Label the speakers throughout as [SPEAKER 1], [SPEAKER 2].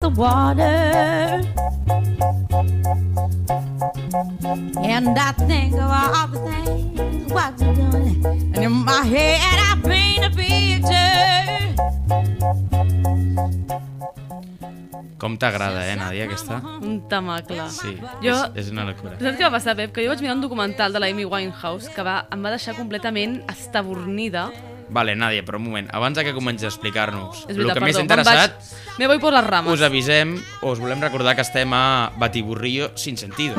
[SPEAKER 1] the water. And I think of all the things what you've done. And in my head, I paint a picture.
[SPEAKER 2] Com t'agrada, eh, Nadia, aquesta?
[SPEAKER 3] Un tamacle.
[SPEAKER 2] Sí,
[SPEAKER 3] Jo-
[SPEAKER 2] és, és una locura.
[SPEAKER 3] Saps què va passar, Pep? Que jo vaig mirar un documental de la Amy Winehouse que va, em va deixar completament estabornida.
[SPEAKER 2] Vale, Nadia, però un moment, abans de que comenci a explicar-nos
[SPEAKER 3] És
[SPEAKER 2] el
[SPEAKER 3] veritat,
[SPEAKER 2] que més
[SPEAKER 3] perdó,
[SPEAKER 2] t'ha
[SPEAKER 3] me'n
[SPEAKER 2] interessat,
[SPEAKER 3] Vaig... Me voy por las ramas.
[SPEAKER 2] us avisem o us volem recordar que estem a Batiburrillo sin sentido.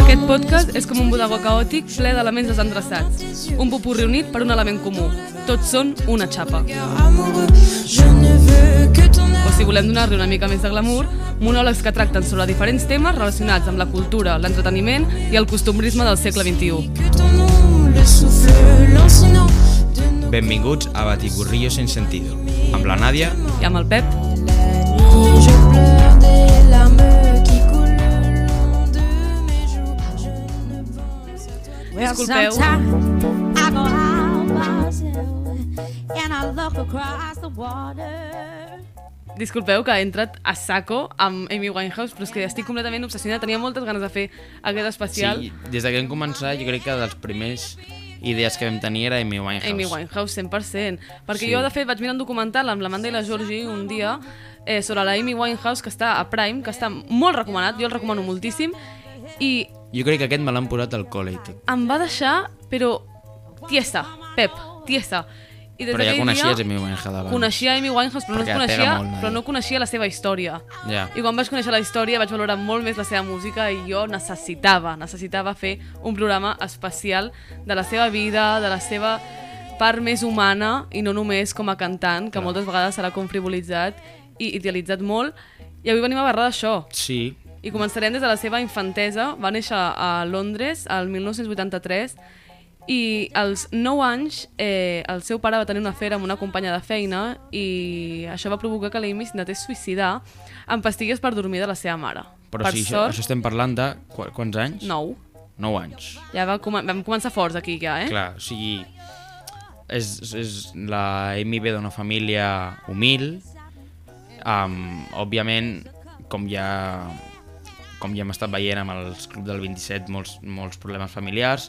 [SPEAKER 3] Aquest podcast és com un bodegó caòtic ple d'elements desendreçats. Un popurri unit per un element comú. Tots són una xapa.
[SPEAKER 4] amoureux. Je ne veux que ton
[SPEAKER 3] O si volem donar-li una mica més de glamour, monòlegs que tracten sobre diferents temes relacionats amb la cultura, l'entreteniment i el costumbrisme del segle XXI.
[SPEAKER 4] que ton nom, le souffle lancinant de nos
[SPEAKER 2] Benvinguts a Batiburrillo sin sentido, amb la Nadia
[SPEAKER 3] I amb el Pep,
[SPEAKER 4] nuits. Je pleure des larmes qui coulent le long de mes jours. Je ne pense à toi.
[SPEAKER 1] Well,
[SPEAKER 3] Disculpeu.
[SPEAKER 1] sometimes I go out by myself and I look across the water.
[SPEAKER 3] disculpeu que he entrat a saco amb Amy Winehouse, però és que estic completament obsessionada. Tenia moltes ganes de fer aquest especial.
[SPEAKER 2] Sí, des de que vam començar, jo crec que dels primers idees que vam tenir era Amy Winehouse.
[SPEAKER 3] Amy Winehouse, 100%. Perquè
[SPEAKER 2] Sí.
[SPEAKER 3] jo, de fet, vaig mirar un documental amb l'Amanda i la Georgie un dia eh, sobre la Amy Winehouse, que està a Prime, que està molt recomanat, jo el recomano moltíssim, i
[SPEAKER 2] Jo crec que aquest me l'han posat al col·le i tot.
[SPEAKER 3] em va deixar, però tiesa, Pep, tiesa. I
[SPEAKER 2] Però ja
[SPEAKER 3] d'aquell
[SPEAKER 2] coneixies
[SPEAKER 3] dia,
[SPEAKER 2] Amy Winehouse abans.
[SPEAKER 3] Coneixia Amy Winehouse, però
[SPEAKER 2] Perquè
[SPEAKER 3] no, es
[SPEAKER 2] pega
[SPEAKER 3] coneixia,
[SPEAKER 2] molt, Nadia.
[SPEAKER 3] però no coneixia la seva història.
[SPEAKER 2] Ja.
[SPEAKER 3] I quan vaig conèixer la història vaig valorar molt més la seva música i jo necessitava, necessitava fer un programa especial de la seva vida, de la seva part més humana i no només com a cantant, que moltes vegades serà confrivolitzat i idealitzat molt. I avui venim a parlar d'això.
[SPEAKER 2] Sí,
[SPEAKER 3] I començarem des de la seva infantesa. Va néixer a Londres el 1983 i als 9 anys eh, el seu pare va tenir una afera amb una companya de feina i això va provocar que l'Amy s'intentés suïcidar amb pastilles per dormir de la seva mare.
[SPEAKER 2] però
[SPEAKER 3] per
[SPEAKER 2] si això,
[SPEAKER 3] sort,
[SPEAKER 2] això estem parlant de qu quants anys?
[SPEAKER 3] 9.
[SPEAKER 2] 9 anys.
[SPEAKER 3] Ja va comen vam començar forts aquí ja, eh?
[SPEAKER 2] Clar, o sigui... És, és la Amy ve d'una família humil, um, òbviament, com ja com ja hem estat veient amb els Club del 27, molts, molts problemes familiars,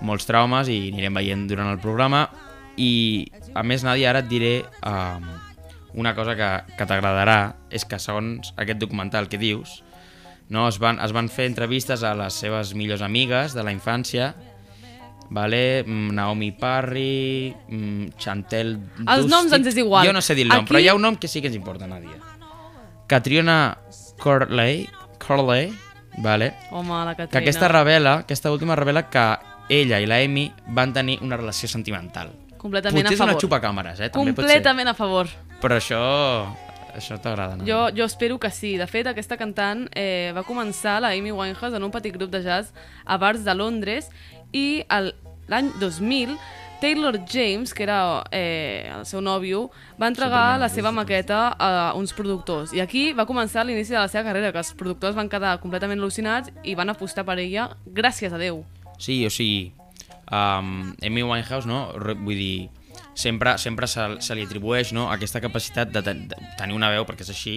[SPEAKER 2] molts traumes, i anirem veient durant el programa. I, a més, Nadia, ara et diré um, una cosa que, que t'agradarà, és que segons aquest documental que dius, no, es, van, es van fer entrevistes a les seves millors amigues de la infància, vale? Mm, Naomi Parry, mm, Chantel
[SPEAKER 3] Els noms
[SPEAKER 2] Dusty-
[SPEAKER 3] ens és igual.
[SPEAKER 2] Jo no sé dir el nom,
[SPEAKER 3] Aquí-
[SPEAKER 2] Aquí... però hi ha un nom que sí que ens importa, Nadia. Catriona Corley, Corley, vale?
[SPEAKER 3] Home, la Caterina.
[SPEAKER 2] que aquesta revela, aquesta última revela que ella i la Amy van tenir una relació sentimental.
[SPEAKER 3] Completament
[SPEAKER 2] potser
[SPEAKER 3] a favor.
[SPEAKER 2] és una xupacàmeres, eh? També
[SPEAKER 3] Completament a favor.
[SPEAKER 2] Pot ser. Però això... Això t'agrada, no?
[SPEAKER 3] Jo, jo espero que sí. De fet, aquesta cantant eh, va començar, la Amy Winehouse, en un petit grup de jazz a bars de Londres i el- l'any 2000 Taylor James, que era eh, el seu nòvio, va entregar la seva maqueta a uns productors. I aquí va començar l'inici de la seva carrera, que els productors van quedar completament al·lucinats i van apostar per ella, gràcies a Déu.
[SPEAKER 2] Sí, o sigui... Um, Amy Winehouse, no? Re- Vull dir, sempre, sempre se, se li atribueix no? aquesta capacitat de, ten de tenir una veu, perquè és així,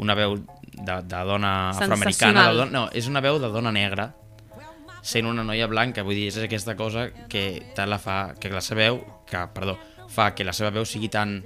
[SPEAKER 2] una veu de, de dona afroamericana.
[SPEAKER 3] Sensacional.
[SPEAKER 2] De dona, no, és una veu de dona negra, sent una noia blanca, vull dir, és aquesta cosa que tant la fa, que la seva veu, que, perdó, fa que la seva veu sigui tan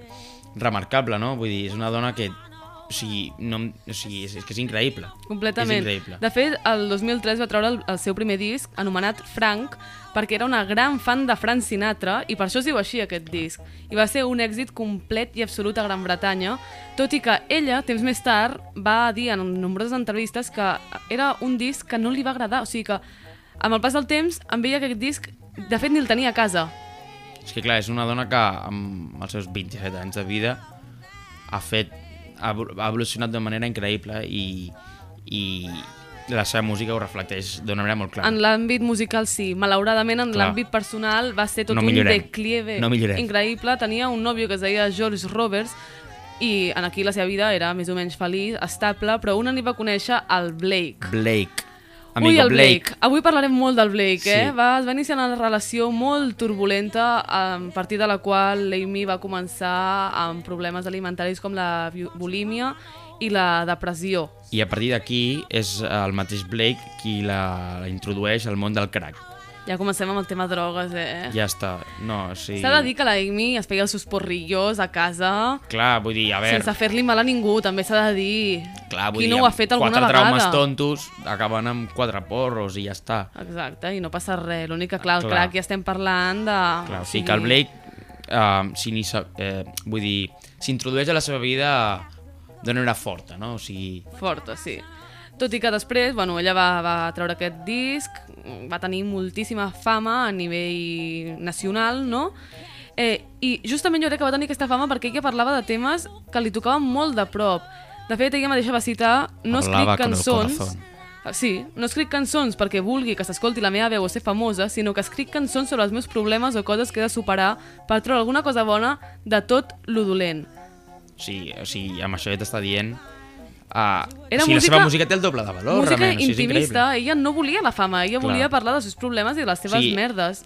[SPEAKER 2] remarcable, no? Vull dir, és una dona que, o sigui, no, em- o sigui és, és que és increïble.
[SPEAKER 3] Completament.
[SPEAKER 2] És increïble.
[SPEAKER 3] De fet, el 2003 va treure el, el seu primer disc, anomenat Frank, perquè era una gran fan de Frank Sinatra i per això es diu així aquest disc. I va ser un èxit complet i absolut a Gran Bretanya, tot i que ella, temps més tard, va dir en nombroses entrevistes que era un disc que no li va agradar. O sigui que, amb el pas del temps, em veia aquest disc... De fet, ni el tenia a casa.
[SPEAKER 2] És que clar, és una dona que amb els seus 27 anys de vida ha fet ha evol- ha evolucionat de manera increïble i, i la seva música ho reflecteix d'una manera molt clara.
[SPEAKER 3] En l'àmbit musical sí, malauradament en
[SPEAKER 2] Clar.
[SPEAKER 3] l'àmbit personal va ser tot
[SPEAKER 2] No
[SPEAKER 3] un
[SPEAKER 2] millorem.
[SPEAKER 3] declive
[SPEAKER 2] No millorem.
[SPEAKER 3] increïble. Tenia un nòvio que es deia George Roberts i en aquí la seva vida era més o menys feliç, estable, però un any va conèixer el Blake,
[SPEAKER 2] Blake,
[SPEAKER 3] Ui,
[SPEAKER 2] Amigo
[SPEAKER 3] el Blake.
[SPEAKER 2] Blake.
[SPEAKER 3] Avui parlarem molt del Blake,
[SPEAKER 2] Sí.
[SPEAKER 3] eh? Va, es va iniciar una relació molt turbulenta a partir de la qual l'Amy va començar amb problemes alimentaris com la bi- bulímia i la depressió.
[SPEAKER 2] I a partir d'aquí és el mateix Blake qui la, la introdueix al món del crack.
[SPEAKER 3] Ja comencem amb el tema drogues, eh?
[SPEAKER 2] Ja està. No, sí...
[SPEAKER 3] S'ha de dir que la Amy es feia els seus porrillos a casa
[SPEAKER 2] Clar, vull dir, a veure...
[SPEAKER 3] sense fer-li mal a ningú, també s'ha de dir.
[SPEAKER 2] Clar, vull
[SPEAKER 3] Qui
[SPEAKER 2] dir,
[SPEAKER 3] no ho ha
[SPEAKER 2] amb
[SPEAKER 3] fet alguna
[SPEAKER 2] quatre
[SPEAKER 3] vegada?
[SPEAKER 2] traumes tontos acaben amb quatre porros i ja està.
[SPEAKER 3] Exacte, i no passa res. L'únic que, clar, el
[SPEAKER 2] Clar.
[SPEAKER 3] crack ja estem parlant de...
[SPEAKER 2] Clar, o sigui que el Blake eh, s'inicia... Eh, vull dir, s'introdueix a la seva vida d'una manera forta, no? O sigui,
[SPEAKER 3] Forta, sí. Tot i que després, bueno, ella va, va treure aquest disc, va tenir moltíssima fama a nivell nacional, no? Eh, I justament jo crec que va tenir aquesta fama perquè ella parlava de temes que li tocaven molt de prop. De fet, ella mateixa va citar No
[SPEAKER 2] Hablaba
[SPEAKER 3] escric
[SPEAKER 2] con el
[SPEAKER 3] cançons... Ah,
[SPEAKER 2] corazón.
[SPEAKER 3] Sí, no escric cançons perquè vulgui que s'escolti la meva veu o ser famosa, sinó que escric cançons sobre els meus problemes o coses que he de superar per treure alguna cosa bona de tot lo dolent.
[SPEAKER 2] o sigui, o sigui amb això ja t'està dient... Uh,
[SPEAKER 3] Era
[SPEAKER 2] o sigui, la
[SPEAKER 3] música-
[SPEAKER 2] seva música té el doble de valor,
[SPEAKER 3] música
[SPEAKER 2] realment. O sigui, és increïble.
[SPEAKER 3] intimista, ella no volia la fama, ella
[SPEAKER 2] Clar.
[SPEAKER 3] volia parlar dels seus problemes i de les seves
[SPEAKER 2] Sí.
[SPEAKER 3] merdes.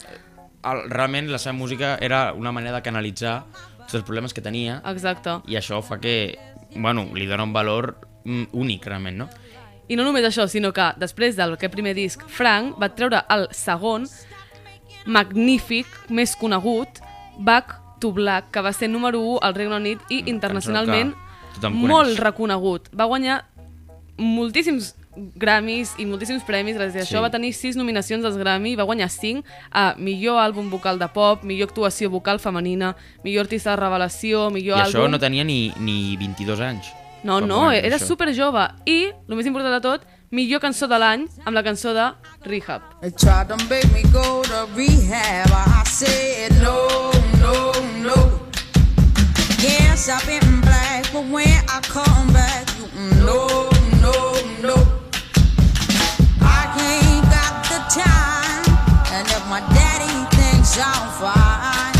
[SPEAKER 2] El, realment, la seva música era una manera de canalitzar tots els problemes que tenia
[SPEAKER 3] Exacte.
[SPEAKER 2] i això fa que, bueno, li dona un valor mm, únic, realment, no?
[SPEAKER 3] I no només això, sinó que després del que primer disc, Frank va treure el segon, magnífic, més conegut, Back to Black, que va ser número 1 al Regne Unit i internacionalment
[SPEAKER 2] Mm, que tothom coneix.
[SPEAKER 3] molt reconegut. Va guanyar moltíssims Grammys i moltíssims premis gràcies a
[SPEAKER 2] Sí.
[SPEAKER 3] això. Va tenir 6 nominacions als Grammy, va guanyar 5 a millor àlbum vocal de pop, millor actuació vocal femenina, millor artista de revelació, millor
[SPEAKER 2] I
[SPEAKER 3] àlbum...
[SPEAKER 2] això no tenia ni, ni 22 anys.
[SPEAKER 3] No,
[SPEAKER 2] Quan
[SPEAKER 3] no,
[SPEAKER 2] van fer
[SPEAKER 3] era
[SPEAKER 2] això.
[SPEAKER 3] super jove. I, el més important de tot, millor cançó de l'any amb la cançó de Rehab.
[SPEAKER 5] They tried to make me go to rehab. I said no, no, no. Yes, I've been black, but when I come back, you no, no, no. I ain't got the time, and if my daddy thinks I'm fine,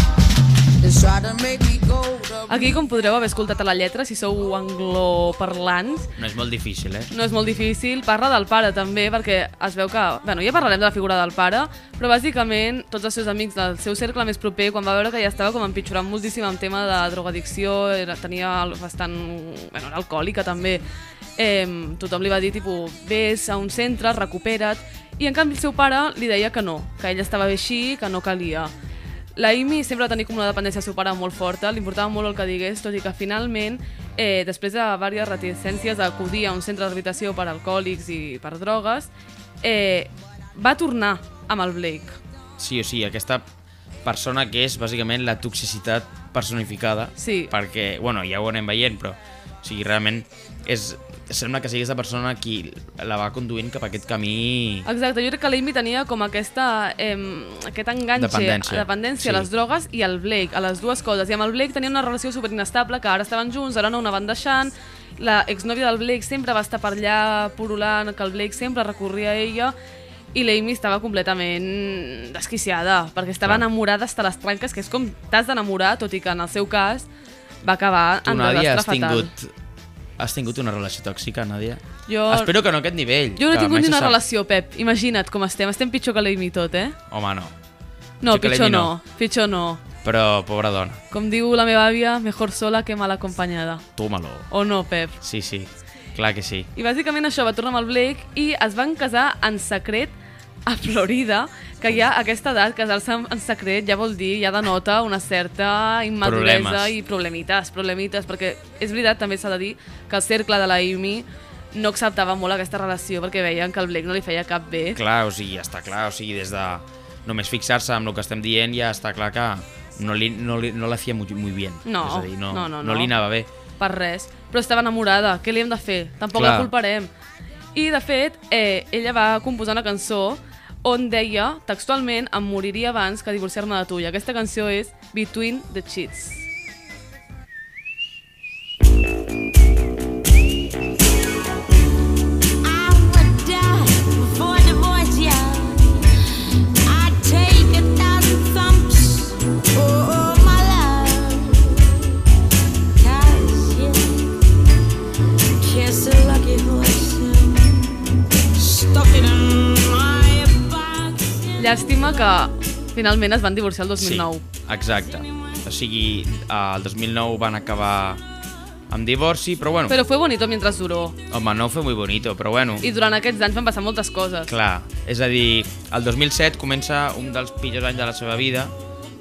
[SPEAKER 5] they tried to make me go to
[SPEAKER 3] Aquí, com podreu haver escoltat a la lletra, si sou angloparlants,
[SPEAKER 2] No és molt difícil, eh?
[SPEAKER 3] no és molt difícil. Parla del pare, també, perquè es veu que... Bueno, ja parlarem de la figura del pare, però bàsicament tots els seus amics del seu cercle més proper, quan va veure que ja estava com empitjorant moltíssim en tema de drogadicció, era, tenia el- bastant... Bueno, era alcohòlica, també. Eh, tothom li va dir, tipus, vés a un centre, recupera't, i en canvi el seu pare li deia que no, que ell estava bé així, que no calia. La Amy sempre va tenir com una dependència del seu pare molt forta, li importava molt el que digués, tot i que finalment, eh, després de diverses reticències a acudir a un centre d'habitació per alcohòlics i per drogues, eh, va tornar amb el Blake.
[SPEAKER 2] Sí, o sigui, aquesta persona que és bàsicament la toxicitat personificada
[SPEAKER 3] Sí.
[SPEAKER 2] perquè, bueno, ja ho anem veient però, o sigui, realment és, sembla que sigui aquesta persona qui la va conduint cap a aquest camí
[SPEAKER 3] Exacte, jo crec que la Amy tenia com aquesta, eh, aquest enganxe,
[SPEAKER 2] Dependència.
[SPEAKER 3] dependència a les
[SPEAKER 2] Sí.
[SPEAKER 3] drogues i al Blake, a les dues coses. I amb el Blake tenia una relació superinestable, que ara estaven junts, ara no, una van deixant. La exnòvia del Blake sempre va estar per allà porulant, que el Blake sempre recorria a ella. I l'Amy estava completament desquiciada, perquè estava
[SPEAKER 2] Clar.
[SPEAKER 3] enamorada hasta les tranques, que és com t'has d'enamorar, tot i que en el seu cas va acabar
[SPEAKER 2] tu,
[SPEAKER 3] en
[SPEAKER 2] Nàdia,
[SPEAKER 3] desastre
[SPEAKER 2] has
[SPEAKER 3] fatal.
[SPEAKER 2] tingut has tingut una relació tòxica, Nàdia?
[SPEAKER 3] Jo-
[SPEAKER 2] Espero que no a aquest nivell
[SPEAKER 3] Jo no he
[SPEAKER 2] que
[SPEAKER 3] tingut
[SPEAKER 2] mai
[SPEAKER 3] ni
[SPEAKER 2] se
[SPEAKER 3] una
[SPEAKER 2] sap.
[SPEAKER 3] relació, Pep. Imagina't com estem. Estem pitjor que l'Amy tot, eh?
[SPEAKER 2] Home, no,
[SPEAKER 3] No,
[SPEAKER 2] Sí que l'he
[SPEAKER 3] pitjor
[SPEAKER 2] dit
[SPEAKER 3] no.
[SPEAKER 2] no.
[SPEAKER 3] Pitjor no.
[SPEAKER 2] però pobra dona
[SPEAKER 3] Com diu la meva àvia, mejor sola que mal acompanyada.
[SPEAKER 2] toma-lo,
[SPEAKER 3] O no, Pep?
[SPEAKER 2] sí, sí, clar que sí
[SPEAKER 3] I bàsicament això, va tornar amb el Blake i es van casar en secret a Florida, que ja a aquesta edat casar-se en- en secret ja vol dir, ja denota una certa immaduresa
[SPEAKER 2] Problemes.
[SPEAKER 3] i problemites, problemites, perquè és veritat, també s'ha de dir, que el cercle de la Amy no acceptava molt aquesta relació perquè veien que el Blake no li feia cap bé.
[SPEAKER 2] clar, o sigui, està clar, o sigui, des de només fixar-se en el que estem dient ja està clar que no, li, no, li, no la feia muy, muy bien.
[SPEAKER 3] No,
[SPEAKER 2] és a dir, no,
[SPEAKER 3] no, no,
[SPEAKER 2] no li
[SPEAKER 3] no.
[SPEAKER 2] anava bé.
[SPEAKER 3] per res, però estava enamorada, què li hem de fer? Tampoc
[SPEAKER 2] Clar.
[SPEAKER 3] la culparem. I, de fet, eh, ella va composar una cançó on deia, textualment, em moriria abans que divorciar-me de tu. I aquesta cançó és Between the Cheats.
[SPEAKER 1] I would die before I divorce ya. I'd take a thousand thumps, oh my love.
[SPEAKER 4] 'Cause, yeah, kiss a lucky horse and
[SPEAKER 5] stuck it in
[SPEAKER 3] Llàstima que finalment es van divorciar el 2009.
[SPEAKER 2] Sí, exacte. O sigui, eh, el 2009 van acabar amb divorci, però bueno, però...
[SPEAKER 3] Però fue bonito mientras duró.
[SPEAKER 2] home, no fue muy bonito, però bueno,
[SPEAKER 3] I durant aquests anys van passar moltes coses.
[SPEAKER 2] clar, és a dir, el 2007 comença un dels pitjors anys de la seva vida,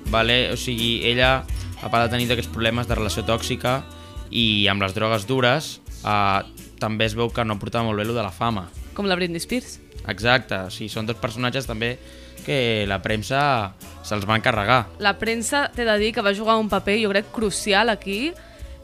[SPEAKER 2] vale? o sigui, ella, a part de tenir aquests problemes de relació tòxica i amb les drogues dures, eh, també es veu que no portava molt bé lo de la fama.
[SPEAKER 3] Com la Britney Spears.
[SPEAKER 2] Exacte, o sigui, són dos personatges també que la premsa se'ls va encarregar.
[SPEAKER 3] La premsa, t'he de dir, que va jugar un paper, jo crec, crucial aquí,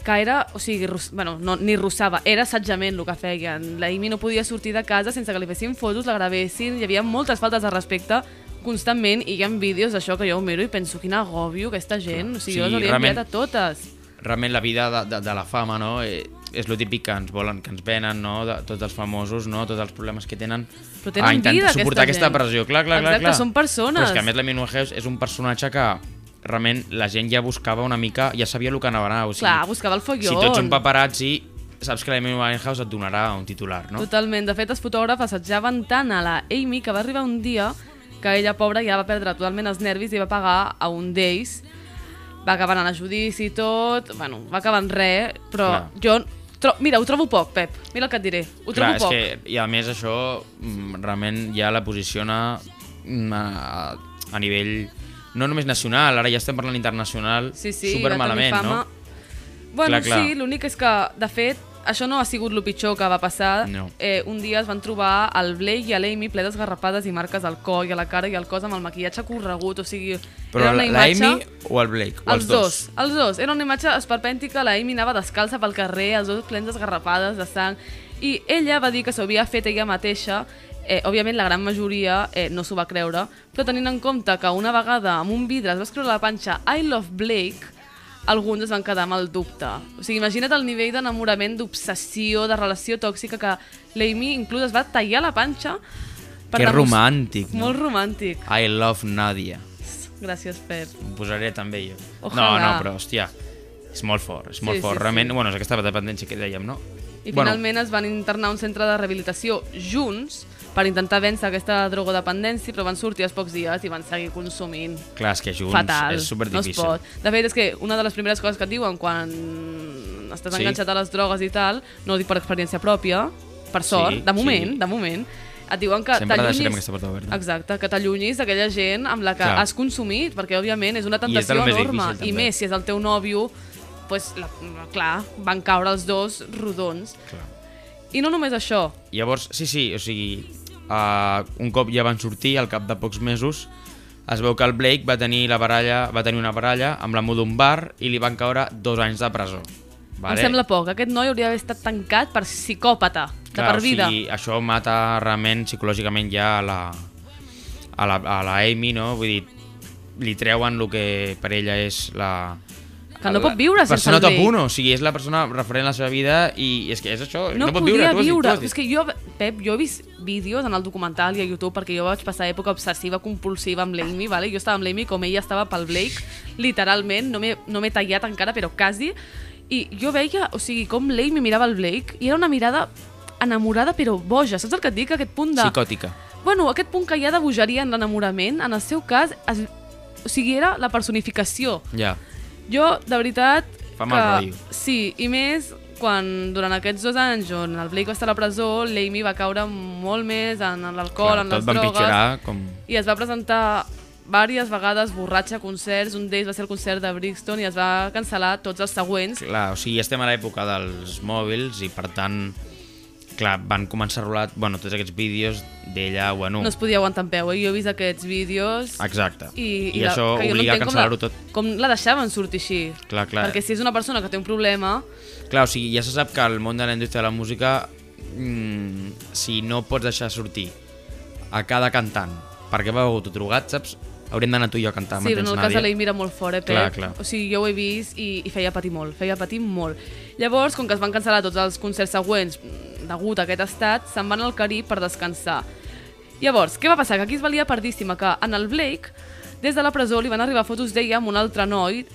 [SPEAKER 3] que era, o sigui, rus... bueno, no, ni russava, era assetjament el que feien. La Amy no podia sortir de casa sense que li fessin fotos, la gravessin, hi havia moltes faltes de respecte constantment i hi ha vídeos d'això que jo ho miro i penso quin agòbio aquesta gent, o sigui, sí, jo
[SPEAKER 2] Sí,
[SPEAKER 3] les hauria
[SPEAKER 2] realment.
[SPEAKER 3] enviat a totes.
[SPEAKER 2] realment la vida de, de, de la fama, no? Eh, és lo típic que ens volen, que ens venen, no? De, tots els famosos, no? Tots els problemes que tenen.
[SPEAKER 3] Però tenen
[SPEAKER 2] a intentar
[SPEAKER 3] vida,
[SPEAKER 2] suportar aquesta,
[SPEAKER 3] aquesta gent.
[SPEAKER 2] pressió, clar, clar, clar,
[SPEAKER 3] Exacte,
[SPEAKER 2] clar.
[SPEAKER 3] són persones.
[SPEAKER 2] Però és que a més la Minua Heus és un personatge que realment la gent ja buscava una mica, ja sabia el que anava a O sigui,
[SPEAKER 3] Clar, buscava el foguion.
[SPEAKER 2] Si tu ets un paparazzi, saps que la Minua Heus et donarà un titular, no?
[SPEAKER 3] Totalment. De fet, els fotògrafs assetjaven tant a la Amy que va arribar un dia que ella, pobra, ja va perdre totalment els nervis i va pagar a un d'ells. Va acabar anant a judici i tot, bueno, va acabar en res, però
[SPEAKER 2] Clar.
[SPEAKER 3] jo... Tro mira, ho trobo poc, Pep. Mira el que et diré. Ho
[SPEAKER 2] Clar,
[SPEAKER 3] trobo
[SPEAKER 2] és
[SPEAKER 3] poc.
[SPEAKER 2] que, i a més això mm, realment ja la posiciona mm, a, a nivell no només nacional, ara ja estem parlant internacional
[SPEAKER 3] Sí, sí,
[SPEAKER 2] supermalament,
[SPEAKER 3] va tenir fama.
[SPEAKER 2] no?
[SPEAKER 3] Bueno,
[SPEAKER 2] Clar,
[SPEAKER 3] clar, clar.
[SPEAKER 2] clar.
[SPEAKER 3] sí, l'únic és que, de fet, això no ha sigut el pitjor que va passar.
[SPEAKER 2] No.
[SPEAKER 3] Eh, un dia es van trobar el Blake i a l'Amy ple d'esgarrapades i marques al coll, a la cara i al cos amb el maquillatge corregut, o sigui,
[SPEAKER 2] Però
[SPEAKER 3] era una
[SPEAKER 2] la-
[SPEAKER 3] imatge...
[SPEAKER 2] la Amy o el Blake? O
[SPEAKER 3] els dos. els dos. Era una imatge esperpèntica, la Amy anava descalça pel carrer, els dos plens d'esgarrapades de sang, i ella va dir que s'ho havia fet ella mateixa, eh, òbviament la gran majoria eh, no s'ho va creure, però tenint en compte que una vegada amb un vidre es va escriure a la panxa I love Blake, alguns es van quedar amb el dubte. O sigui, imagina't el nivell d'enamorament, d'obsessió, de relació tòxica que l'Amy inclús es va tallar la panxa per
[SPEAKER 2] Que
[SPEAKER 3] demostrar-
[SPEAKER 2] romàntic, no?
[SPEAKER 3] Molt romàntic.
[SPEAKER 2] I love Nadia.
[SPEAKER 3] Gràcies, Pep.
[SPEAKER 2] Ho posaré també jo.
[SPEAKER 3] Ojalà.
[SPEAKER 2] No, no, però hòstia, és molt fort, és molt
[SPEAKER 3] Sí,
[SPEAKER 2] fort.
[SPEAKER 3] sí,
[SPEAKER 2] Realment,
[SPEAKER 3] sí.
[SPEAKER 2] bueno, és aquesta dependència que dèiem, no?
[SPEAKER 3] I finalment es van internar a un centre de rehabilitació junts per intentar vèncer aquesta drogodependència, però van sortir als pocs dies i van seguir consumint.
[SPEAKER 2] Bueno, clar, és que junts
[SPEAKER 3] Fatal.
[SPEAKER 2] Doncs és
[SPEAKER 3] no es
[SPEAKER 2] superdifícil.
[SPEAKER 3] pot. De fet, és que una de les primeres coses que et diuen quan estàs
[SPEAKER 2] Sí.
[SPEAKER 3] enganxat a les drogues i tal, no ho dic per experiència pròpia, per sort,
[SPEAKER 2] Sí,
[SPEAKER 3] de moment,
[SPEAKER 2] sí.
[SPEAKER 3] de moment, et diuen que
[SPEAKER 2] Sempre
[SPEAKER 3] t'allunyis-
[SPEAKER 2] deixarem aquesta porta oberta.
[SPEAKER 3] Exacte, que t'allunyis d'aquella gent amb la que
[SPEAKER 2] Clar.
[SPEAKER 3] has consumit, perquè òbviament és una
[SPEAKER 2] I és de
[SPEAKER 3] tentació
[SPEAKER 2] lo més
[SPEAKER 3] enorme.
[SPEAKER 2] difícil,
[SPEAKER 3] I
[SPEAKER 2] també.
[SPEAKER 3] més si és el teu nòvio, pues, la, clar, van caure els dos rodons.
[SPEAKER 2] Clar.
[SPEAKER 3] I no només això,
[SPEAKER 2] Llavors, sí, sí, o sigui, uh, un cop ja van sortir, al cap de pocs mesos, es veu que el Blake va tenir la baralla va tenir una baralla amb l'amo d'un bar i li van caure dos anys de presó.
[SPEAKER 3] vale. em sembla poc. Aquest noi hauria d'haver estat tancat per psicòpata, de per vida.
[SPEAKER 2] O sigui, això mata realment psicològicament ja a la, a la, a la Amy, no? Vull dir, li treuen el que per ella és la...
[SPEAKER 3] Que no
[SPEAKER 2] la
[SPEAKER 3] pot viure sense
[SPEAKER 2] persona
[SPEAKER 3] el
[SPEAKER 2] top
[SPEAKER 3] Blake.
[SPEAKER 2] 1, o sigui, és la persona referent a la seva vida i és que és això,
[SPEAKER 3] no,
[SPEAKER 2] no, pot viure,
[SPEAKER 3] podia
[SPEAKER 2] tu ho has dit, tu ho
[SPEAKER 3] viure.
[SPEAKER 2] has dit.
[SPEAKER 3] És que jo, Pep, jo he vist vídeos en el documental i a YouTube perquè jo vaig passar època obsessiva, compulsiva amb l'Amy, vale? jo estava amb l'Amy com ella estava pel Blake, literalment, no m'he no m'he tallat encara, però quasi, i jo veia, o sigui, com l'Amy mirava el Blake i era una mirada enamorada però boja, saps el que et dic? Aquest punt de...
[SPEAKER 2] Psicòtica.
[SPEAKER 3] Bueno, aquest punt que hi ha de bogeria en l'enamorament, en el seu cas, es... o sigui, era la personificació.
[SPEAKER 2] Ja.
[SPEAKER 3] Jo, de veritat...
[SPEAKER 2] Fa mal rotllo.
[SPEAKER 3] Sí, i més quan durant aquests dos anys on el Blake va estar a la presó, l'Amy va caure molt més en l'alcohol, en les
[SPEAKER 2] tot va empitjorar
[SPEAKER 3] drogues...
[SPEAKER 2] com...
[SPEAKER 3] I es va presentar diverses vegades borratxa a concerts, un d'ells va ser el concert de Brixton i es va cancel·lar tots els següents.
[SPEAKER 2] Clar, o sigui, estem a l'època dels mòbils i per tant, clar, van començar a rolar bueno, tots aquests vídeos d'ella, bueno,
[SPEAKER 3] No es podia aguantar en peu, eh? jo he vist aquests vídeos...
[SPEAKER 2] exacte.
[SPEAKER 3] I,
[SPEAKER 2] I, això
[SPEAKER 3] que jo no
[SPEAKER 2] obliga a
[SPEAKER 3] entenc com la-
[SPEAKER 2] cancel·lar-ho tot.
[SPEAKER 3] Com la deixaven sortir així.
[SPEAKER 2] Clar, clar.
[SPEAKER 3] Perquè si és una persona que té un problema,
[SPEAKER 2] Clar, o sigui, ja se sap que el món de la indústria de la música, mm, si no pots deixar sortir a cada cantant, perquè va begut o drogat, saps? Hauríem d'anar tu i jo a cantar,
[SPEAKER 3] Sí, però en
[SPEAKER 2] m'entens,
[SPEAKER 3] el cas de
[SPEAKER 2] Nadia?
[SPEAKER 3] l'Ell mira molt fort, eh, Pep?
[SPEAKER 2] Clar, clar.
[SPEAKER 3] O sigui, jo ho he vist i, i feia patir molt, feia patir molt. Llavors, com que es van cancel·lar tots els concerts següents mm, degut a aquest estat, se'n van al Carib per descansar. Llavors, què va passar? Que aquí es valia perdíssima que en el Blake, des de la presó, li van arribar fotos d'ella amb un altre noi i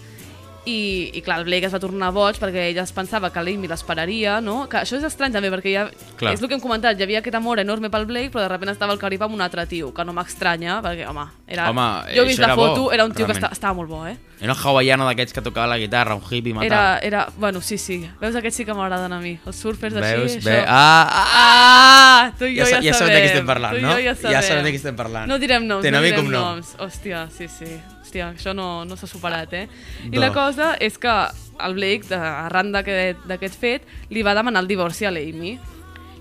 [SPEAKER 3] I, i clar, el Blake es va tornar boig perquè ella es pensava que l'Amy l'esperaria, no? Que això és estrany també, perquè ja,
[SPEAKER 2] Clar.
[SPEAKER 3] és el que hem comentat, hi havia aquest amor enorme pel Blake, però de sobte estava el Carib amb un altre tio, que no m'estranya, perquè, home, era...
[SPEAKER 2] Home,
[SPEAKER 3] jo
[SPEAKER 2] això
[SPEAKER 3] he vist la
[SPEAKER 2] era bo,
[SPEAKER 3] foto, era un tio que
[SPEAKER 2] realment.
[SPEAKER 3] esta- estava molt bo, eh?
[SPEAKER 2] Era un hawaiano d'aquests que tocava la guitarra, un hippie matat.
[SPEAKER 3] Era, era, bueno, sí, sí. Veus, aquests sí que m'agraden a mi. Els surfers
[SPEAKER 2] Veus?
[SPEAKER 3] així,
[SPEAKER 2] Ve...
[SPEAKER 3] això.
[SPEAKER 2] Ah, ah,
[SPEAKER 3] Ah, tu i jo
[SPEAKER 2] Ja
[SPEAKER 3] ja,
[SPEAKER 2] sa- ja sabem de qui estem parlant,
[SPEAKER 3] tu i
[SPEAKER 2] no?
[SPEAKER 3] Jo ja,
[SPEAKER 2] Ja
[SPEAKER 3] sabem.
[SPEAKER 2] sabem de qui estem parlant.
[SPEAKER 3] No direm noms,
[SPEAKER 2] Té
[SPEAKER 3] no
[SPEAKER 2] nom i
[SPEAKER 3] direm
[SPEAKER 2] cognom.
[SPEAKER 3] noms. Hòstia, sí, sí. Hòstia, això no, no s'ha superat, eh? I
[SPEAKER 2] No.
[SPEAKER 3] la cosa és que el Blake, de- arran d'aquest d'aquest fet, li va demanar el divorci a l'Amy.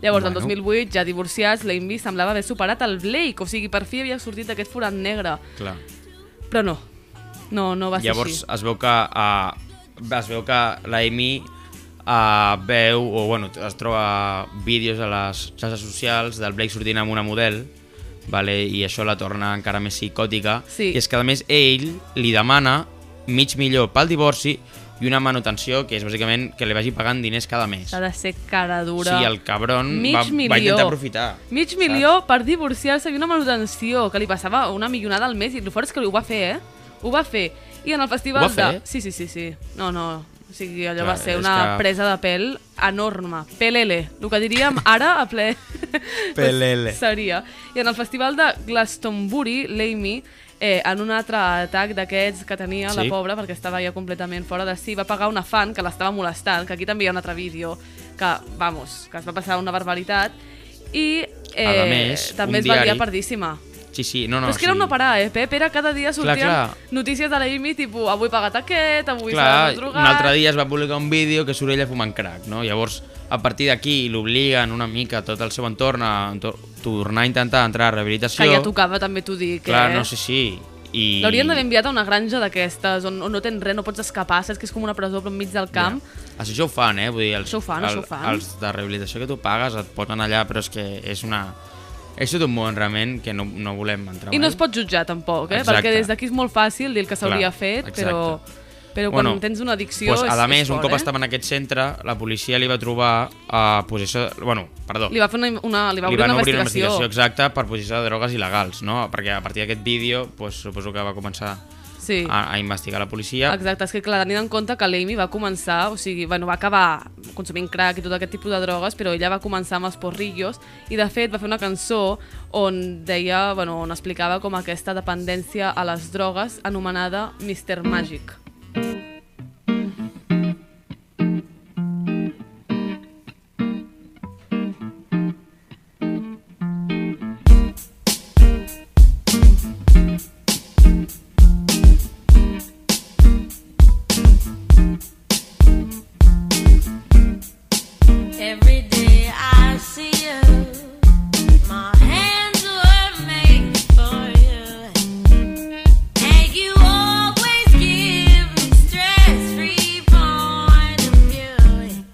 [SPEAKER 3] Llavors,
[SPEAKER 2] Bueno.
[SPEAKER 3] el 2008, ja divorciats, l'Amy semblava haver superat el Blake, o sigui, per fi havia sortit d'aquest forat negre.
[SPEAKER 2] Clar.
[SPEAKER 3] Però no, no, no va ser
[SPEAKER 2] Llavors
[SPEAKER 3] així.
[SPEAKER 2] es veu que uh, es veu que l'Amy uh, veu, o bueno, es troba vídeos a les xarxes socials del Blake sortint amb una model vale? i això la torna encara més psicòtica
[SPEAKER 3] Sí.
[SPEAKER 2] i és que a més ell li demana mig milió pel divorci i una manutenció que és bàsicament que li vagi pagant diners cada mes
[SPEAKER 3] S'ha de ser cara dura.
[SPEAKER 2] sí, el cabron
[SPEAKER 3] Mig
[SPEAKER 2] va,
[SPEAKER 3] milió.
[SPEAKER 2] va intentar aprofitar
[SPEAKER 3] Mig
[SPEAKER 2] saps?
[SPEAKER 3] milió per divorciar-se i una manutenció que li passava una milionada al mes i el fort és que ho va fer, eh? Ho va fer. I en el festival
[SPEAKER 2] Ho va fer?
[SPEAKER 3] de... Sí, sí, sí, sí. No, no. O sigui, allò
[SPEAKER 2] Clar,
[SPEAKER 3] va ser
[SPEAKER 2] és
[SPEAKER 3] una
[SPEAKER 2] que-
[SPEAKER 3] presa de pèl enorme. Pelele. El que diríem ara a ple...
[SPEAKER 2] Pelele.
[SPEAKER 3] Seria. I en el festival de Glastonbury, l'Amy, eh, en un altre atac d'aquests que tenia la
[SPEAKER 2] Sí.
[SPEAKER 3] pobra, perquè estava ja completament fora de si, va pagar una fan que l'estava molestant, que aquí també hi ha un altre vídeo, que, vamos, que es va passar una barbaritat, i eh,
[SPEAKER 2] A més,
[SPEAKER 3] també
[SPEAKER 2] un
[SPEAKER 3] es va liar
[SPEAKER 2] diari-
[SPEAKER 3] perdíssima.
[SPEAKER 2] sí, sí, no,
[SPEAKER 3] No,
[SPEAKER 2] no,
[SPEAKER 3] Però és que era
[SPEAKER 2] sí.
[SPEAKER 3] una parada, eh, Pep? Era cada dia sortien
[SPEAKER 2] clar.
[SPEAKER 3] notícies de la Amy, tipus, avui pagat aquest, avui s'ha
[SPEAKER 2] Clar,
[SPEAKER 3] drogat...
[SPEAKER 2] un altre dia es va publicar un vídeo que surt ella fumant crack, no? Llavors, a partir d'aquí, l'obliguen una mica tot el seu entorn a entor- tornar a intentar entrar a rehabilitació.
[SPEAKER 3] Que ja tocava, també t'ho dic,
[SPEAKER 2] Clar,
[SPEAKER 3] eh?
[SPEAKER 2] no sé si... I...
[SPEAKER 3] L'haurien d'haver enviat a una granja d'aquestes, on, on no tens res, no pots escapar, saps que és com una presó però enmig del camp.
[SPEAKER 2] Ja. Això, això ho fan, eh? Vull dir, els,
[SPEAKER 3] Això ho fan, això ho fan.
[SPEAKER 2] Els de rehabilitació que tu pagues et posen allà, però és que és una... És tot un món, realment, que no, no volem entrar
[SPEAKER 3] I no
[SPEAKER 2] mai.
[SPEAKER 3] es pot jutjar tampoc, eh?
[SPEAKER 2] Exacte.
[SPEAKER 3] perquè des d'aquí és molt fàcil dir el que s'hauria
[SPEAKER 2] Clar,
[SPEAKER 3] fet,
[SPEAKER 2] exacte.
[SPEAKER 3] però, però quan
[SPEAKER 2] Bueno,
[SPEAKER 3] tens una addicció
[SPEAKER 2] pues,
[SPEAKER 3] és,
[SPEAKER 2] a més,
[SPEAKER 3] és
[SPEAKER 2] un
[SPEAKER 3] fort,
[SPEAKER 2] cop
[SPEAKER 3] eh?
[SPEAKER 2] estava en aquest centre, la policia li va trobar a posició... Bueno, perdó,
[SPEAKER 3] Li va fer una, una, li va obrir, una, investigació.
[SPEAKER 2] exacta per posició de drogues il·legals, no? Perquè a partir d'aquest vídeo, pues, suposo que va començar
[SPEAKER 3] Sí.
[SPEAKER 2] a, a investigar la policia.
[SPEAKER 3] Exacte, és que clar, tenint en compte que l'Amy va començar, o sigui, bueno, va acabar consumint crack i tot aquest tipus de drogues, però ella va començar amb els porrillos i de fet va fer una cançó on deia, bueno, on explicava com aquesta dependència a les drogues anomenada Mr. Magic.
[SPEAKER 1] Every day I see you. My hands were made for you. And you always give me stress-free point of view.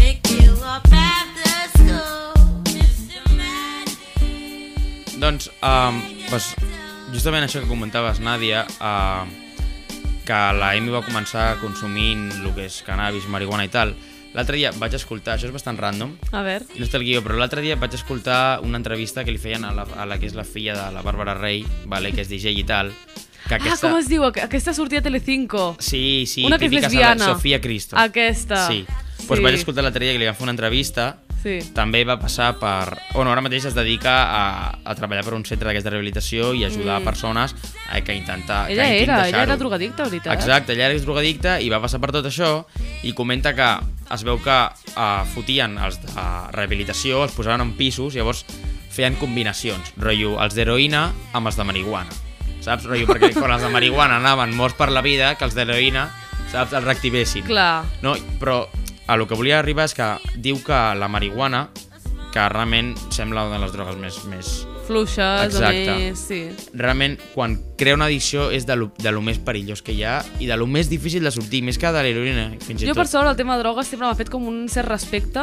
[SPEAKER 1] Pick you up after school. Mr. Magic.
[SPEAKER 2] Doncs, um, pues, justament això que comentaves, Nàdia, uh, que la Amy va començar consumint el que és cannabis, marihuana i tal. L'altre dia vaig escoltar, això és bastant random,
[SPEAKER 3] A veure,
[SPEAKER 2] no està el guió, però l'altre dia vaig escoltar una entrevista que li feien a la, a la que és la filla de la Bàrbara Rey, vale, que és DJ i tal. Que
[SPEAKER 3] ah, com es diu? Aqu- Aquesta sortia a Telecinco.
[SPEAKER 2] Sí, sí,
[SPEAKER 3] Una que és
[SPEAKER 2] típica
[SPEAKER 3] lesbiana.
[SPEAKER 2] Sara- Sofia Cristo.
[SPEAKER 3] Aquesta.
[SPEAKER 2] Sí. Doncs pues
[SPEAKER 3] Sí.
[SPEAKER 2] vaig escoltar l'altre dia que li van fer una entrevista.
[SPEAKER 3] Sí.
[SPEAKER 2] També va passar per... Bueno, ara mateix es dedica a, a treballar per un centre d'aquesta rehabilitació i ajudar mm. persones eh, que intenta...
[SPEAKER 3] Ella
[SPEAKER 2] que
[SPEAKER 3] era, ella
[SPEAKER 2] deixar
[SPEAKER 3] era drogadicta, veritat.
[SPEAKER 2] Exacte, ella era drogadicta i va passar per tot això i comenta que es veu que eh, fotien els de rehabilitació, els posaven en pisos, llavors feien combinacions, rotllo els d'heroïna amb els de marihuana. Saps? Rotllo, perquè quan els de marihuana anaven morts per la vida, que els d'heroïna, saps, els reactivessin.
[SPEAKER 3] Clar.
[SPEAKER 2] No, però a lo que volia arribar és que diu que la marihuana, que realment sembla una de les drogues més, més,
[SPEAKER 3] Fluixes,
[SPEAKER 2] Exacte.
[SPEAKER 3] a més, sí.
[SPEAKER 2] realment quan crea una addicció és de lo, de lo més perillós que hi ha i de lo més difícil de sortir, més que de l'heroïna fins i
[SPEAKER 3] Jo,
[SPEAKER 2] tot.
[SPEAKER 3] per sort, el tema de drogues sempre m'ha fet com un cert respecte.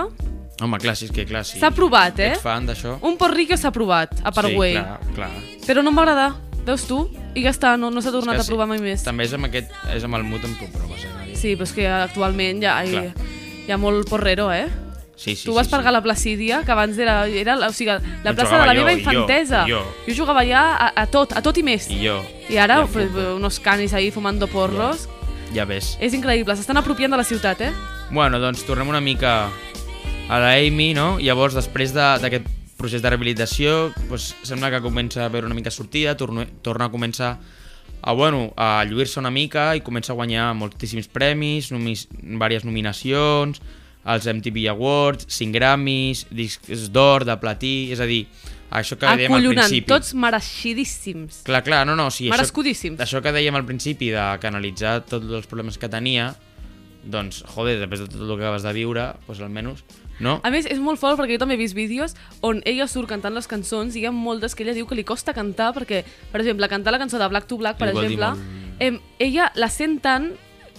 [SPEAKER 2] Home, clar, sí, és que clar, sí.
[SPEAKER 3] S'ha provat, eh?
[SPEAKER 2] Ets fan d'això?
[SPEAKER 3] Un porrillo s'ha provat, a Paraguay.
[SPEAKER 2] Sí, clar, clar.
[SPEAKER 3] Però no em va agradar, veus tu? I ja està, no, no s'ha
[SPEAKER 2] És
[SPEAKER 3] tornat
[SPEAKER 2] que
[SPEAKER 3] a provar mai més.
[SPEAKER 2] També és amb, aquest, és amb el mut amb comproves, eh? Maria?
[SPEAKER 3] Sí, però és que actualment ja hi,
[SPEAKER 2] Clar.
[SPEAKER 3] hi ha molt porrero, eh?
[SPEAKER 2] sí, sí
[SPEAKER 3] tu vas
[SPEAKER 2] sí,
[SPEAKER 3] pagar
[SPEAKER 2] sí.
[SPEAKER 3] la Placídia, que abans era, era la- o sigui, la
[SPEAKER 2] On
[SPEAKER 3] plaça de
[SPEAKER 2] jugava
[SPEAKER 3] la
[SPEAKER 2] jo,
[SPEAKER 3] meva
[SPEAKER 2] i jo,
[SPEAKER 3] infantesa.
[SPEAKER 2] i jo.
[SPEAKER 3] jo jugava ja a, a tot, a tot i més.
[SPEAKER 2] I jo.
[SPEAKER 3] I ara,
[SPEAKER 2] I el
[SPEAKER 3] pues, unos canis ahí fumando porros.
[SPEAKER 2] Ja ves.
[SPEAKER 3] És increïble, s'estan apropiant de la ciutat, eh?
[SPEAKER 2] Bueno, doncs tornem una mica a la Amy, no? Llavors, després de- d'aquest procés de rehabilitació, doncs, sembla que comença a veure una mica sortida, torna, torna a començar a, bueno, a lluir-se una mica i comença a guanyar moltíssims premis, nomis, diverses nominacions, els MTV Awards, 5 Grammys, discs d'or, de platí, és a dir, això que dèiem al
[SPEAKER 3] Acollonant,
[SPEAKER 2] principi.
[SPEAKER 3] Ah, tots mereixidíssims.
[SPEAKER 2] Clar, clar, no, no, sí,
[SPEAKER 3] Merescudíssims.
[SPEAKER 2] Això, això que dèiem al principi de canalitzar tots els problemes que tenia, doncs, joder, després de tot el que acabes de viure, doncs almenys, no?
[SPEAKER 3] A més, és molt fort perquè jo també he vist vídeos on ella surt cantant les cançons i hi ha moltes que ella diu que li costa cantar perquè, per exemple, cantar la cançó de Black to Black, per
[SPEAKER 2] Li vol dir
[SPEAKER 3] exemple,
[SPEAKER 2] molt.
[SPEAKER 3] em, ella la sent tant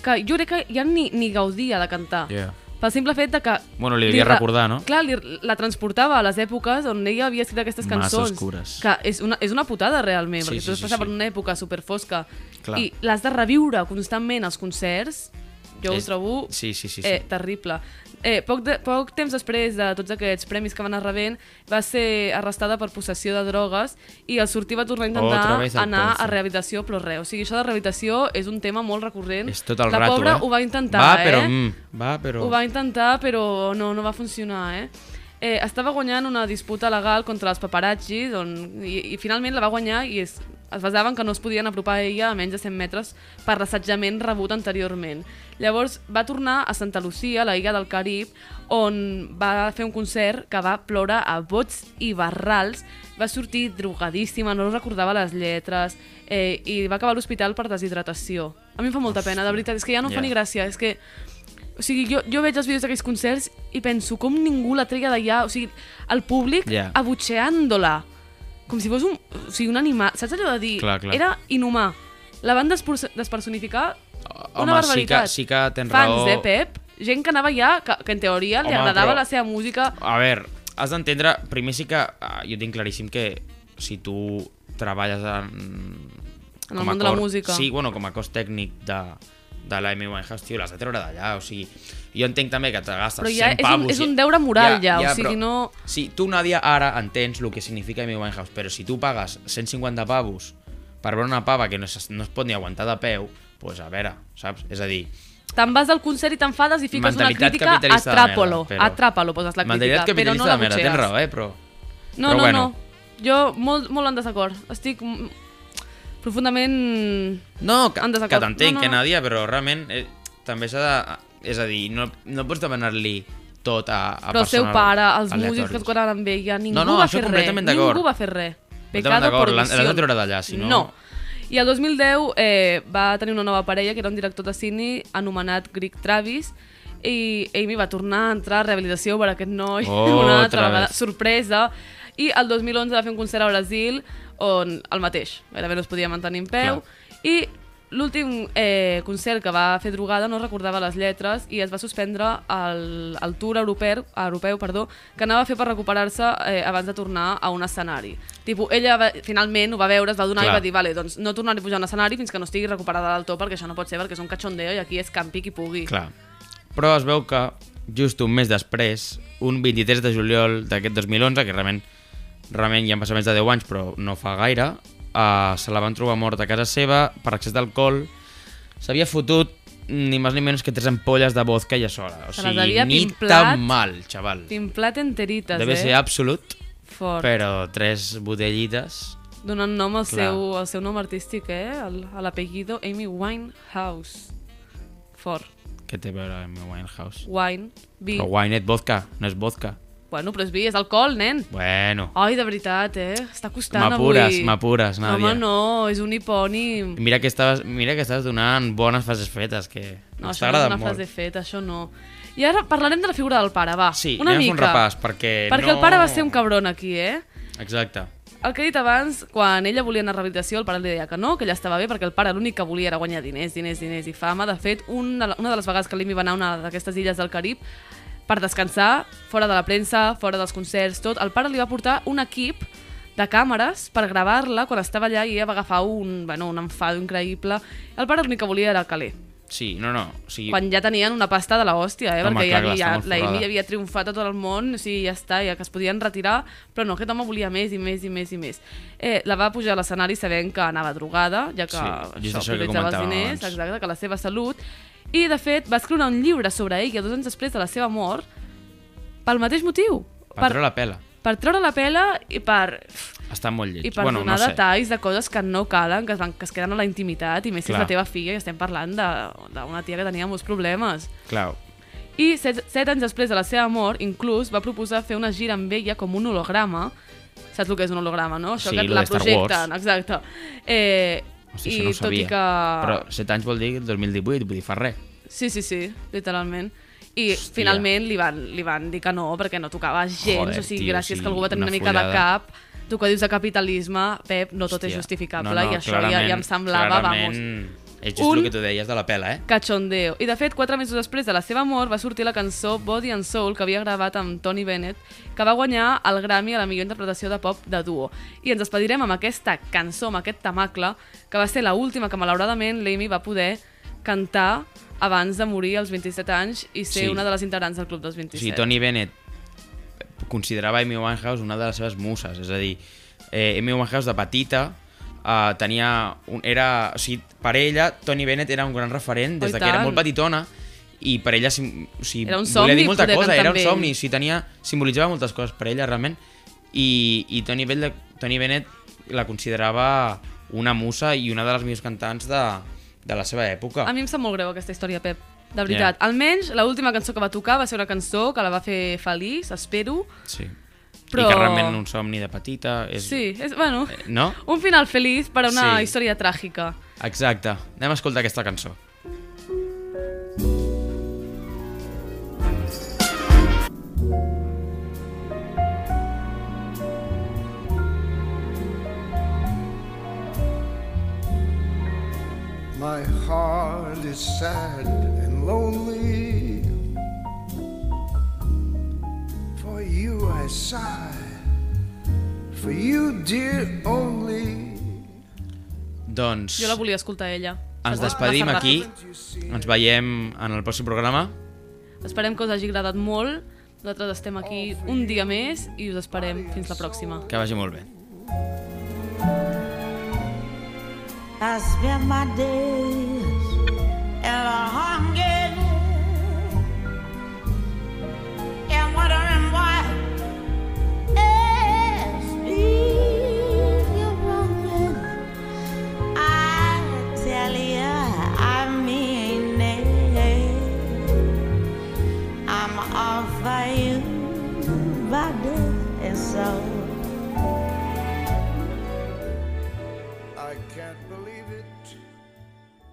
[SPEAKER 3] que jo crec que ja ni, ni gaudia de cantar.
[SPEAKER 2] Yeah.
[SPEAKER 3] Pel simple fet de que...
[SPEAKER 2] Bueno, li devia
[SPEAKER 3] ra-
[SPEAKER 2] recordar, no?
[SPEAKER 3] Clar, li, la transportava a les èpoques on ella havia escrit aquestes
[SPEAKER 2] Massa
[SPEAKER 3] cançons.
[SPEAKER 2] oscures.
[SPEAKER 3] Que és una, és una putada, realment,
[SPEAKER 2] Sí,
[SPEAKER 3] perquè
[SPEAKER 2] sí,
[SPEAKER 3] tu has
[SPEAKER 2] sí,
[SPEAKER 3] passat
[SPEAKER 2] sí.
[SPEAKER 3] per una època superfosca
[SPEAKER 2] Clar.
[SPEAKER 3] i l'has de reviure constantment als concerts. Jo
[SPEAKER 2] És-
[SPEAKER 3] ho trobo
[SPEAKER 2] Eh, Sí, sí, sí. sí.
[SPEAKER 3] Eh, terrible. Eh, poc, de, poc temps després de tots aquests premis que van anar rebent, va ser arrestada per possessió de drogues i al sortir va tornar a
[SPEAKER 2] Otra
[SPEAKER 3] intentar
[SPEAKER 2] vez al
[SPEAKER 3] anar
[SPEAKER 2] pozo.
[SPEAKER 3] a rehabilitació però res. O sigui, això de rehabilitació és un tema molt recurrent.
[SPEAKER 2] És tot el
[SPEAKER 3] La
[SPEAKER 2] rato,
[SPEAKER 3] pobra
[SPEAKER 2] eh?
[SPEAKER 3] ho va intentar,
[SPEAKER 2] va,
[SPEAKER 3] eh?
[SPEAKER 2] Però, mm, va, però...
[SPEAKER 3] Ho va intentar, però no, no va funcionar, eh? Eh, estava guanyant una disputa legal contra els paparazzi on, i, i finalment la va guanyar i es, es basaven que no es podien apropar a ella a menys de 100 metres per l'assetjament rebut anteriorment. Llavors va tornar a Santa Lucia, la illa del Carib, on va fer un concert que va ploure a bots i barrals, va sortir drogadíssima, no recordava les lletres eh, i va acabar a l'hospital per deshidratació. A mi em fa molta pena, de veritat, és que ja no em
[SPEAKER 2] Ja.
[SPEAKER 3] fa ni gràcia, és que o sigui, jo, jo veig els vídeos d'aquells concerts i penso com ningú la treia d'allà, o sigui, el públic
[SPEAKER 2] Ja.
[SPEAKER 3] yeah. abutxeant-la. Com si fos un, o sigui, un animal. Saps allò de dir?
[SPEAKER 2] Clar, clar.
[SPEAKER 3] Era inhumà. La van despro- despersonificar
[SPEAKER 2] Home,
[SPEAKER 3] una
[SPEAKER 2] sí que,
[SPEAKER 3] barbaritat.
[SPEAKER 2] sí que tens
[SPEAKER 3] Fans,
[SPEAKER 2] raó.
[SPEAKER 3] eh, Pep? Gent que anava allà, que, que en teoria li
[SPEAKER 2] Home,
[SPEAKER 3] agradava
[SPEAKER 2] però-
[SPEAKER 3] la seva música.
[SPEAKER 2] A veure, has d'entendre... Primer sí que ah, jo tinc claríssim que si tu treballes en... com
[SPEAKER 3] En el
[SPEAKER 2] a
[SPEAKER 3] món de la
[SPEAKER 2] cor-
[SPEAKER 3] música.
[SPEAKER 2] Sí, bueno, com a cos tècnic de, de la Amy Winehouse, tio, l'has de treure d'allà, o sigui... Jo entenc també que te gastes
[SPEAKER 3] Però
[SPEAKER 2] 100
[SPEAKER 3] ja és un-
[SPEAKER 2] pavos...
[SPEAKER 3] és
[SPEAKER 2] i-
[SPEAKER 3] un deure moral, ja, o sigui,
[SPEAKER 2] però
[SPEAKER 3] no-
[SPEAKER 2] Si tu, Nadia, ara entens el que significa Amy Winehouse, però si tu pagues 150 pavos per veure una pava que no es, no es pot ni aguantar de peu, doncs pues a veure, saps? És a dir,
[SPEAKER 3] Te'n vas al concert i t'enfades i fiques una
[SPEAKER 2] mentalitat
[SPEAKER 3] crítica,
[SPEAKER 2] capitalista de merda,
[SPEAKER 3] atràpalo,
[SPEAKER 2] però-
[SPEAKER 3] atràpalo, poses la crítica,
[SPEAKER 2] mentalitat
[SPEAKER 3] però no
[SPEAKER 2] capitalista
[SPEAKER 3] la
[SPEAKER 2] de merda,
[SPEAKER 3] butxees.
[SPEAKER 2] tens raó, eh, però...
[SPEAKER 3] No,
[SPEAKER 2] però
[SPEAKER 3] no,
[SPEAKER 2] bueno.
[SPEAKER 3] no. Jo molt, molt en desacord. Estic mm, profundament...
[SPEAKER 2] No, que,
[SPEAKER 3] En desacord.
[SPEAKER 2] que t'entenc, no, no.
[SPEAKER 3] No, no,
[SPEAKER 2] que
[SPEAKER 3] no.
[SPEAKER 2] Nadia, però realment eh, també s'ha de... És a dir, no, no pots demanar-li tot a, a
[SPEAKER 3] Però el seu
[SPEAKER 2] persones
[SPEAKER 3] pare, els
[SPEAKER 2] aleatòries.
[SPEAKER 3] músics que es quadren amb ella, ningú
[SPEAKER 2] No, no,
[SPEAKER 3] va
[SPEAKER 2] això
[SPEAKER 3] fer res.
[SPEAKER 2] completament d'acord.
[SPEAKER 3] Ningú va fer res.
[SPEAKER 2] Completament
[SPEAKER 3] Pecado
[SPEAKER 2] d'acord,
[SPEAKER 3] por
[SPEAKER 2] l'han-
[SPEAKER 3] omisión.
[SPEAKER 2] l'han de treure d'allà, si no-
[SPEAKER 3] No. I el 2010 eh, va tenir una nova parella, que era un director de cine anomenat Greg Travis, i Amy va tornar a entrar a rehabilitació per aquest noi
[SPEAKER 2] Oh, otra
[SPEAKER 3] una altra vegada.
[SPEAKER 2] vez.
[SPEAKER 3] Sorpresa. I el 2011 va fer un concert a Brasil on el mateix, gairebé no es podia mantenir en peu. I l'últim eh, concert que va fer drogada no recordava les lletres i es va suspendre el, el tour europeu, europeu perdó, que anava a fer per recuperar-se eh, abans de tornar a un escenari. Tipo, ella va, finalment ho va veure, es va donar Clar. i
[SPEAKER 2] Clar.
[SPEAKER 3] va dir vale, doncs no tornaré a pujar a un escenari fins que no estigui recuperada del tot perquè això no pot ser perquè és un cachondeo i aquí és campi qui pugui.
[SPEAKER 2] Clar. Però es veu que just un mes després, un 23 de juliol d'aquest 2011, que realment, realment ja han passat més de 10 anys, però no fa gaire, eh, se la van trobar morta a casa seva per excés d'alcohol. S'havia fotut ni més ni menys que tres ampolles de vodka i a sola. O
[SPEAKER 3] Se les
[SPEAKER 2] sigui,
[SPEAKER 3] havia
[SPEAKER 2] ni
[SPEAKER 3] pimplat.
[SPEAKER 2] tan mal, xaval.
[SPEAKER 3] Timplat enterites,
[SPEAKER 2] Deve
[SPEAKER 3] eh?
[SPEAKER 2] ser absolut.
[SPEAKER 3] Fort.
[SPEAKER 2] Però tres botellites...
[SPEAKER 3] Donant nom al
[SPEAKER 2] Clar.
[SPEAKER 3] seu, al seu nom artístic, eh? El- A l'apellido Amy Winehouse. Fort.
[SPEAKER 2] Què té a veure amb Winehouse?
[SPEAKER 3] Wine. Vi.
[SPEAKER 2] Però wine és vodka, no és vodka.
[SPEAKER 3] Bueno, però és vi, és alcohol, nen.
[SPEAKER 2] Bueno,
[SPEAKER 3] Ai, de veritat, eh? Està costant
[SPEAKER 2] M'apures,
[SPEAKER 3] avui.
[SPEAKER 2] m'apures, Nàdia.
[SPEAKER 3] Home, no, és un hipònim.
[SPEAKER 2] mira que, estaves, mira que estaves donant bones fases fetes, que ens
[SPEAKER 3] No, això no és
[SPEAKER 2] t'agraden
[SPEAKER 3] una
[SPEAKER 2] molt.
[SPEAKER 3] frase feta, això no. I ara parlarem de la figura del pare, va.
[SPEAKER 2] Sí,
[SPEAKER 3] una
[SPEAKER 2] anem a fer
[SPEAKER 3] mica.
[SPEAKER 2] un repàs, perquè
[SPEAKER 3] Perquè
[SPEAKER 2] no-
[SPEAKER 3] el pare va ser un cabron aquí, eh?
[SPEAKER 2] Exacte.
[SPEAKER 3] El que he dit abans, quan ella volia anar a rehabilitació, el pare li deia que no, que ella estava bé, perquè el pare l'únic que volia era guanyar diners, diners, diners i fama. De fet, una, una de les vegades que l'Imi va anar a una d'aquestes illes del Carib per descansar, fora de la premsa, fora dels concerts, tot, el pare li va portar un equip de càmeres per gravar-la quan estava allà i ella va agafar un, bueno, un enfado increïble. El pare l'únic que volia era caler.
[SPEAKER 2] Sí, no, no. O sigui,
[SPEAKER 3] Quan ja tenien una pasta de la hòstia, eh?
[SPEAKER 2] Home,
[SPEAKER 3] perquè
[SPEAKER 2] clar, que
[SPEAKER 3] ja, havia,
[SPEAKER 2] l'està molt
[SPEAKER 3] la Amy
[SPEAKER 2] forrada.
[SPEAKER 3] havia triomfat a tot el món, o sigui, ja està, ja que es podien retirar, però no, aquest home volia més i més i més i més. Eh, la va pujar a l'escenari sabent que anava drogada, ja que
[SPEAKER 2] Sí, just això
[SPEAKER 3] això,
[SPEAKER 2] que
[SPEAKER 3] prioritzava els
[SPEAKER 2] comentàvem
[SPEAKER 3] diners,
[SPEAKER 2] abans.
[SPEAKER 3] exacte, que la seva salut, i de fet va escriure un llibre sobre ella dos anys després de la seva mort pel mateix motiu,
[SPEAKER 2] per treure la pela.
[SPEAKER 3] per treure la pela i per
[SPEAKER 2] Està molt lleig.
[SPEAKER 3] i per
[SPEAKER 2] bueno,
[SPEAKER 3] donar
[SPEAKER 2] no sé.
[SPEAKER 3] detalls de coses que no calen, que es, van, que es queden a la intimitat, i més si és
[SPEAKER 2] Clar.
[SPEAKER 3] la teva filla, i estem parlant de- d'una tia que tenia molts problemes.
[SPEAKER 2] Clar,
[SPEAKER 3] I set, set anys després de la seva mort, inclús, va proposar fer una gira amb ella com un holograma. Saps el que és un holograma, no?
[SPEAKER 2] Sí, lo
[SPEAKER 3] que
[SPEAKER 2] de Star
[SPEAKER 3] exacte. Eh,
[SPEAKER 2] hosti,
[SPEAKER 3] I
[SPEAKER 2] això no ho
[SPEAKER 3] tot
[SPEAKER 2] sabia.
[SPEAKER 3] i que...
[SPEAKER 2] Però 7 anys vol dir 2018, vull dir, fa res.
[SPEAKER 3] Sí, sí, sí, literalment. I
[SPEAKER 2] Hòstia.
[SPEAKER 3] finalment li van, li van dir que no, perquè no tocava gens,
[SPEAKER 2] Joder,
[SPEAKER 3] o sigui,
[SPEAKER 2] tio,
[SPEAKER 3] gràcies
[SPEAKER 2] sí,
[SPEAKER 3] que algú va tenir
[SPEAKER 2] una
[SPEAKER 3] una mica de
[SPEAKER 2] follada.
[SPEAKER 3] cap. Tu que dius de capitalisme, Pep, no tot és
[SPEAKER 2] Hòstia.
[SPEAKER 3] justificable, i això ja, ja em semblava,
[SPEAKER 2] clarament,
[SPEAKER 3] vamos,
[SPEAKER 2] És just
[SPEAKER 3] Un-
[SPEAKER 2] el que tu deies de la pela, eh?
[SPEAKER 3] cachondeo. I de fet, quatre mesos després de la seva mort va sortir la cançó Body and Soul que havia gravat amb Tony Bennett, que va guanyar el Grammy a la millor interpretació de pop de duo. I ens despedirem amb aquesta cançó, amb aquest tamacle, que va ser la última que malauradament l'Amy va poder cantar abans de morir als 27 anys i ser
[SPEAKER 2] Sí.
[SPEAKER 3] una de les integrants del Club dels
[SPEAKER 2] O
[SPEAKER 3] 27.
[SPEAKER 2] sigui, Tony Bennett considerava Amy Winehouse una de les seves muses, és a dir, eh, Amy Winehouse de petita eh, tenia un, era, o sigui, per ella Tony Bennett era un gran referent des
[SPEAKER 3] Oh, i
[SPEAKER 2] de que era
[SPEAKER 3] tant.
[SPEAKER 2] molt petitona i per ella sim- o sigui,
[SPEAKER 3] Era un
[SPEAKER 2] volia
[SPEAKER 3] somni
[SPEAKER 2] dir molta
[SPEAKER 3] poder
[SPEAKER 2] cosa,
[SPEAKER 3] cantar
[SPEAKER 2] era
[SPEAKER 3] amb
[SPEAKER 2] un
[SPEAKER 3] ell.
[SPEAKER 2] somni, o sigui, tenia, simbolitzava moltes coses per ella realment i, i Tony, Bennett, Tony Bennett la considerava una musa i una de les millors cantants de, de la seva època.
[SPEAKER 3] A mi em sap molt greu aquesta història, Pep. De veritat. Yeah. Almenys l'última cançó que va tocar va ser una cançó que la va fer feliç, espero.
[SPEAKER 2] Sí. Però... I
[SPEAKER 3] Però-
[SPEAKER 2] que realment un somni de petita és...
[SPEAKER 3] Sí, és, bueno,
[SPEAKER 2] Eh, No?
[SPEAKER 3] un final feliç per a una
[SPEAKER 2] Sí.
[SPEAKER 3] història tràgica.
[SPEAKER 2] Exacte. Anem a escoltar aquesta cançó.
[SPEAKER 6] My heart is sad and lonely. For you I sigh, for you, dear, only.
[SPEAKER 2] Doncs
[SPEAKER 3] Jo la volia escoltar ella.
[SPEAKER 2] ens
[SPEAKER 3] Saps?
[SPEAKER 2] despedim
[SPEAKER 3] Massa
[SPEAKER 2] aquí.
[SPEAKER 3] ràpid.
[SPEAKER 2] Ens veiem en el pròxim programa.
[SPEAKER 3] Esperem que us hagi agradat molt. Nosaltres estem aquí un dia més i us esperem fins la pròxima.
[SPEAKER 2] Que vagi molt bé.
[SPEAKER 1] I spend my days in a hunger and wondering why it's been wrong. I tell you, I mean it. I'm all for you, body and soul.